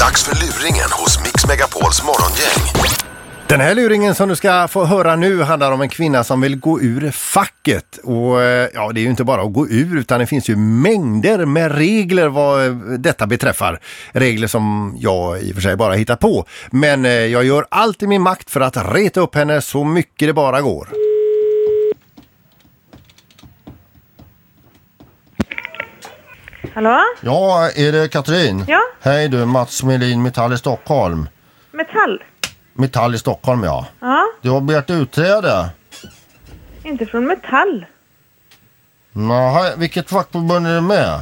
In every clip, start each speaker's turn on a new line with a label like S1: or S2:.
S1: Dags för luringen hos Mix Megapols morgongäng.
S2: Den här luringen som du ska få höra nu handlar om en kvinna som vill gå ur facket. Och eh, ja, det är ju inte bara att gå ur utan det finns ju mängder med regler vad eh, detta beträffar. Regler som jag i och för sig bara hittar på. Men eh, jag gör allt i min makt för att reta upp henne så mycket det bara går.
S3: Hallå?
S2: Ja, är det Katrin?
S3: Ja.
S2: Hej du, Mats Melin, Metall i Stockholm.
S3: Metall?
S2: Metall i Stockholm ja.
S3: Ja,
S2: Du har begärt utträde.
S3: inte från Metall.
S2: Jaha, vilket fackförbund är du med?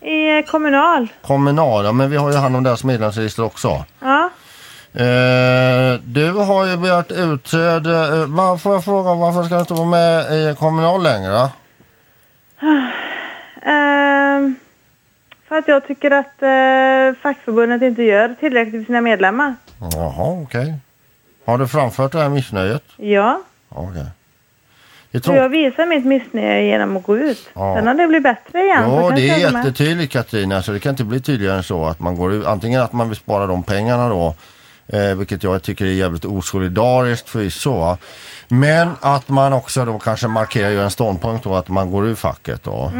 S3: I eh, Kommunal.
S2: Kommunal, ja, men vi har ju hand om deras medlemsregister också.
S3: Ja.
S2: Eh, du har ju begärt utträde. Eh, var- får jag fråga varför ska du inte vara med i Kommunal längre?
S3: Ehm, för att jag tycker att eh, fackförbundet inte gör tillräckligt för sina medlemmar.
S2: Jaha, okej. Har du framfört det här missnöjet?
S3: Ja.
S2: Okej. Det är
S3: Och jag
S2: tråkigt.
S3: visar mitt missnöje genom att gå ut.
S2: Ja.
S3: Sen om det blir bättre igen så
S2: Ja,
S3: kanske
S2: det är
S3: jag går med.
S2: jättetydligt Katrin. Alltså, det kan inte bli tydligare än så att man går ut. Antingen att man vill spara de pengarna då, eh, vilket jag tycker är jävligt osolidariskt förvisso. va. Men att man också då kanske markerar ju en ståndpunkt då att man går ur facket då.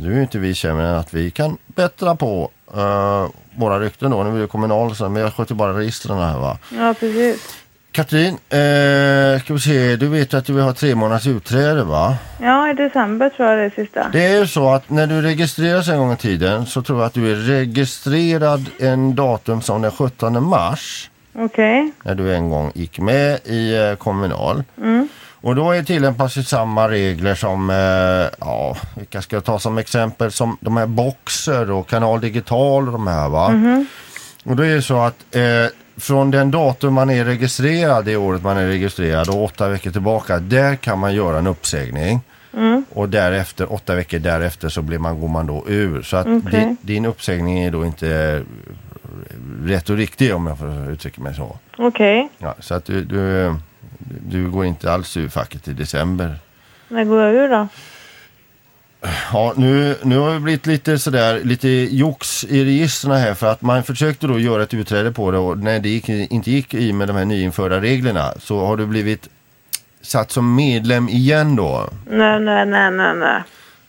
S2: Nu är ju inte vi sämre än att vi kan bättra på eh, våra rykten då. Nu är det ju kommunal så, men jag sköter bara registren här va.
S3: Ja, precis.
S2: Katrin, eh, ska vi se, du vet att du vill ha tre månaders utträde va?
S3: Ja, i december tror jag det är sista.
S2: Det är ju så att när du registreras en gång i tiden så tror jag att du är registrerad en datum som den 17 mars
S3: Okej.
S2: när du en gång gick med i eh, Kommunal. Och då är tillämpas ju samma regler som, eh, ja, vilka ska jag ta som exempel, som de här Boxer och Kanal Digital och de här va. Och då är det så att eh, från den datum man är registrerad, det året man är registrerad och åtta veckor tillbaka, där kan man göra en uppsägning. Och därefter, åtta veckor därefter så blir man, går man då ur. Så att
S3: Okej.
S2: din, din uppsägning är då inte eh, rätt och riktig om jag får uttrycka mig så.
S3: Okej.
S2: Ja, så att du, du, du går inte alls ur facket i december.
S3: När går jag ur då?
S2: Ja, nu, nu har det blivit lite sådär, lite jox i registren här för att man försökte då göra ett utträde på det och när det gick, inte gick i med de här nyinförda reglerna så har du blivit satt som medlem igen då.
S3: Nej, nej, nej, nej, nej.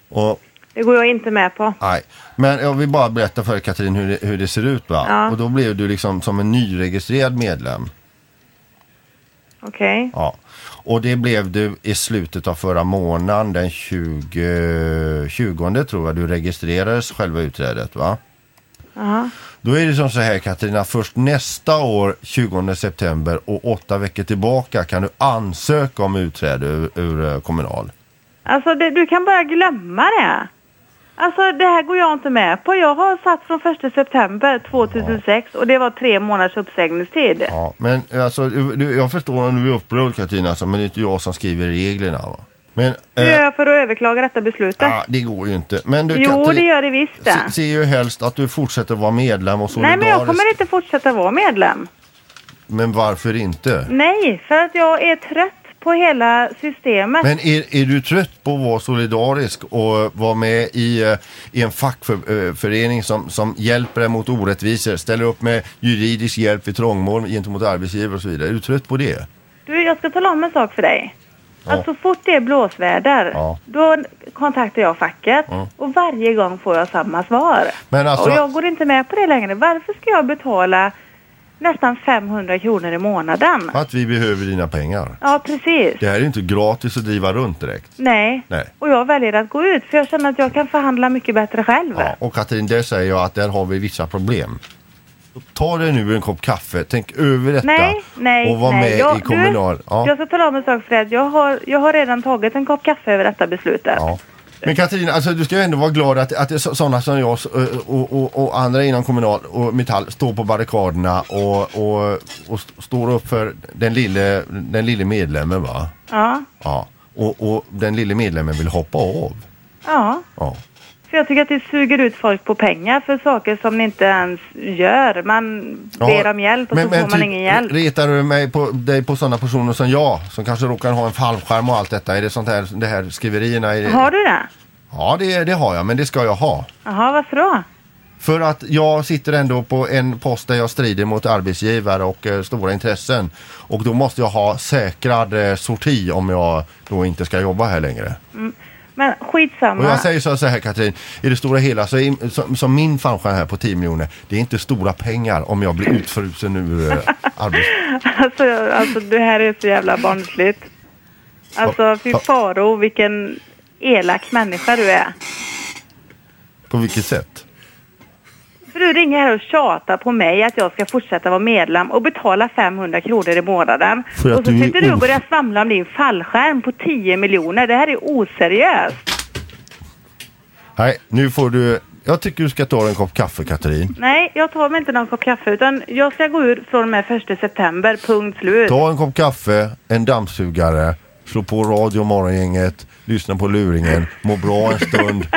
S2: Och,
S3: Det går jag inte med på.
S2: nej. Men jag vill bara berätta för Katrin hur det, hur det ser ut va?
S3: Ja.
S2: Och då blev du liksom som en nyregistrerad medlem.
S3: Okej.
S2: Ja. Och det blev du i slutet av förra månaden, den 20, 20 tror jag, du registrerades själva utträdet va?
S3: Jaha.
S2: Då är det som så här Katarina, först nästa år 20 september och åtta veckor tillbaka kan du ansöka om utträde ur, ur eh, Kommunal.
S3: Alltså det, du kan bara glömma det. Alltså det här går jag inte med på. Jag har satt från 1 september 2006 och det var tre månaders uppsägningstid.
S2: Ja, men eh, alltså, du, du- jag förstår om du är upprörd Katarina, alltså, men det är inte jag som skriver reglerna. Va? Men,
S3: Hur
S2: eh,
S3: gör jag för att överklaga detta beslutet?
S2: ah, det går ju inte. Men du,
S3: jo,
S2: Katrin,
S3: det gör det visst
S2: se,
S3: det.
S2: ser ju helst att du fortsätter vara medlem och
S3: Nej,
S2: solidarisk.
S3: men jag kommer inte fortsätta vara medlem.
S2: men varför inte?
S3: Nej, för att jag är trött på hela systemet.
S2: Men är, är du trött på att vara solidarisk och vara med i, eh, i en fackförening som, som hjälper dig mot orättvisor, ställer upp med juridisk hjälp vid trångmål gentemot arbetsgivare och så vidare? Är du trött på det?
S3: Du, jag ska tala om en sak för dig.
S2: Ja.
S3: Att så fort det är blåsväder,
S2: Ja.
S3: då kontaktar jag facket och varje gång får jag samma svar.
S2: Men alltså-
S3: Och jag går inte med på det längre. Varför ska jag betala nästan 500 kronor i månaden?
S2: Att vi behöver dina pengar.
S3: Ja, precis.
S2: Det här är ju inte gratis att driva runt direkt.
S3: Nej.
S2: Nej.
S3: Och jag väljer att gå ut för jag känner att jag kan förhandla mycket bättre själv.
S2: Ja, och Katrin, där säger jag att där har vi vissa problem. Ta dig nu en kopp kaffe, tänk över detta
S3: Nej, nej,
S2: och var
S3: nej.
S2: med
S3: jag,
S2: i Kommunal.
S3: Du, Jag ska tala om en sak för dig. Jag har, jag har redan tagit en kopp kaffe över detta beslutet.
S2: Ja. Men Katarina, alltså, du ska ju ändå vara glad att, att det är så- sådana som jag s- och, och, och andra inom Kommunal och Metall står på barrikaderna och, och, och st- står upp för den lille, den lille medlemmen va?
S3: Ja.
S2: Ja. Och, och den lille medlemmen vill hoppa av.
S3: ja.
S2: Ja.
S3: För jag tycker att det suger ut folk på pengar för saker som ni inte ens gör. Man
S2: Ja,
S3: ber om hjälp och så får man
S2: typ,
S3: ingen hjälp.
S2: Retar du mig på, dig på sådana personer som jag som kanske råkar ha en fallskärm och allt detta? Är det sånt här, det här skriverierna? Är det...
S3: Har du det?
S2: Ja, det, det har jag, men det ska jag ha.
S3: Jaha, varför då?
S2: För att jag sitter ändå på en post där jag strider mot arbetsgivare och eh, stora intressen. Och då måste jag ha säkrad eh, sorti om jag då inte ska jobba här längre.
S3: Men skitsamma.
S2: Och jag säger så så här Katrin, i det stora hela så är, som, som min fallskärm här på 10 miljoner, det är inte stora pengar om jag blir utfrusen ur eh, arbets...
S3: Alltså, alltså det här är så jävla barnsligt. Alltså fy
S2: Ja.
S3: faro vilken elak människa du är.
S2: På vilket sätt?
S3: För du ringer här och tjatar på mig att jag ska fortsätta vara medlem och betala 500 kronor i månaden.
S2: För att
S3: och så
S2: du är
S3: sitter du och
S2: os-
S3: börjar svamla om din fallskärm på 10 miljoner. Det här är oseriöst.
S2: Nej, nu får du... Jag tycker du ska ta en kopp kaffe Katrin.
S3: Nej, jag tar mig inte någon kopp kaffe utan jag ska gå ur från och med 1 september, punkt slut.
S2: Ta en kopp kaffe, en dammsugare, slå på radio morgongänget, lyssna på luringen, må bra en stund.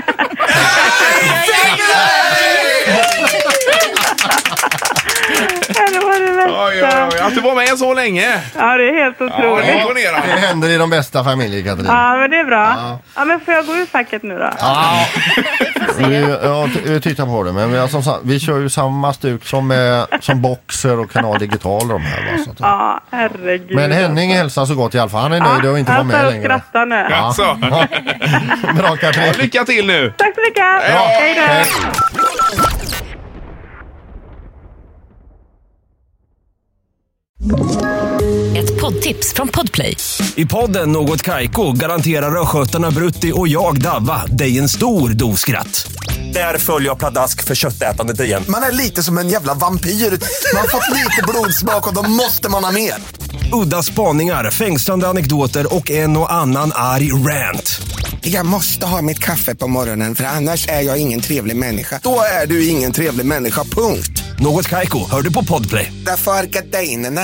S3: Det var det
S4: Oj, oj,
S3: värsta.
S4: oj. Att du var med så länge.
S3: Ja, det är helt
S4: Ja, det är
S3: otroligt.
S2: Det
S4: imponerande.
S2: händer i de bästa familjer Katrin.
S3: Ja, men det är bra. Ja, men får jag gå ur facket nu då?
S2: Vi, ja, t- vi tittar på det. Men vi, har som sagt, vi kör ju samma stuk som, eh, som Boxer och Kanal Digital. och De här, va, så att,
S3: Ja, herregud.
S2: Men Henning hälsar så gott i alla fall. Han är nöjd och inte var med
S3: Han står och
S2: längre.
S3: skrattar nu.
S4: Alltså.
S2: Bra Katrin.
S4: Lycka till nu.
S3: Tack så mycket.
S4: då.
S3: Hej då.
S5: Ett poddtips från Podplay.
S6: I podden Något Kaiko garanterar östgötarna Brutti och jag, Davva, dig en stor dos skratt. Där följer jag pladask för köttätandet igen.
S7: Man är lite som en jävla vampyr. Man har fått lite blodsmak och då måste man ha mer.
S6: Udda spaningar, fängslande anekdoter och en och annan arg rant.
S7: Jag måste ha mitt kaffe på morgonen för annars är jag ingen trevlig människa. Då är du ingen trevlig människa, punkt.
S6: Något Kaiko, hör du på Podplay.
S7: Därför arkadeinerna.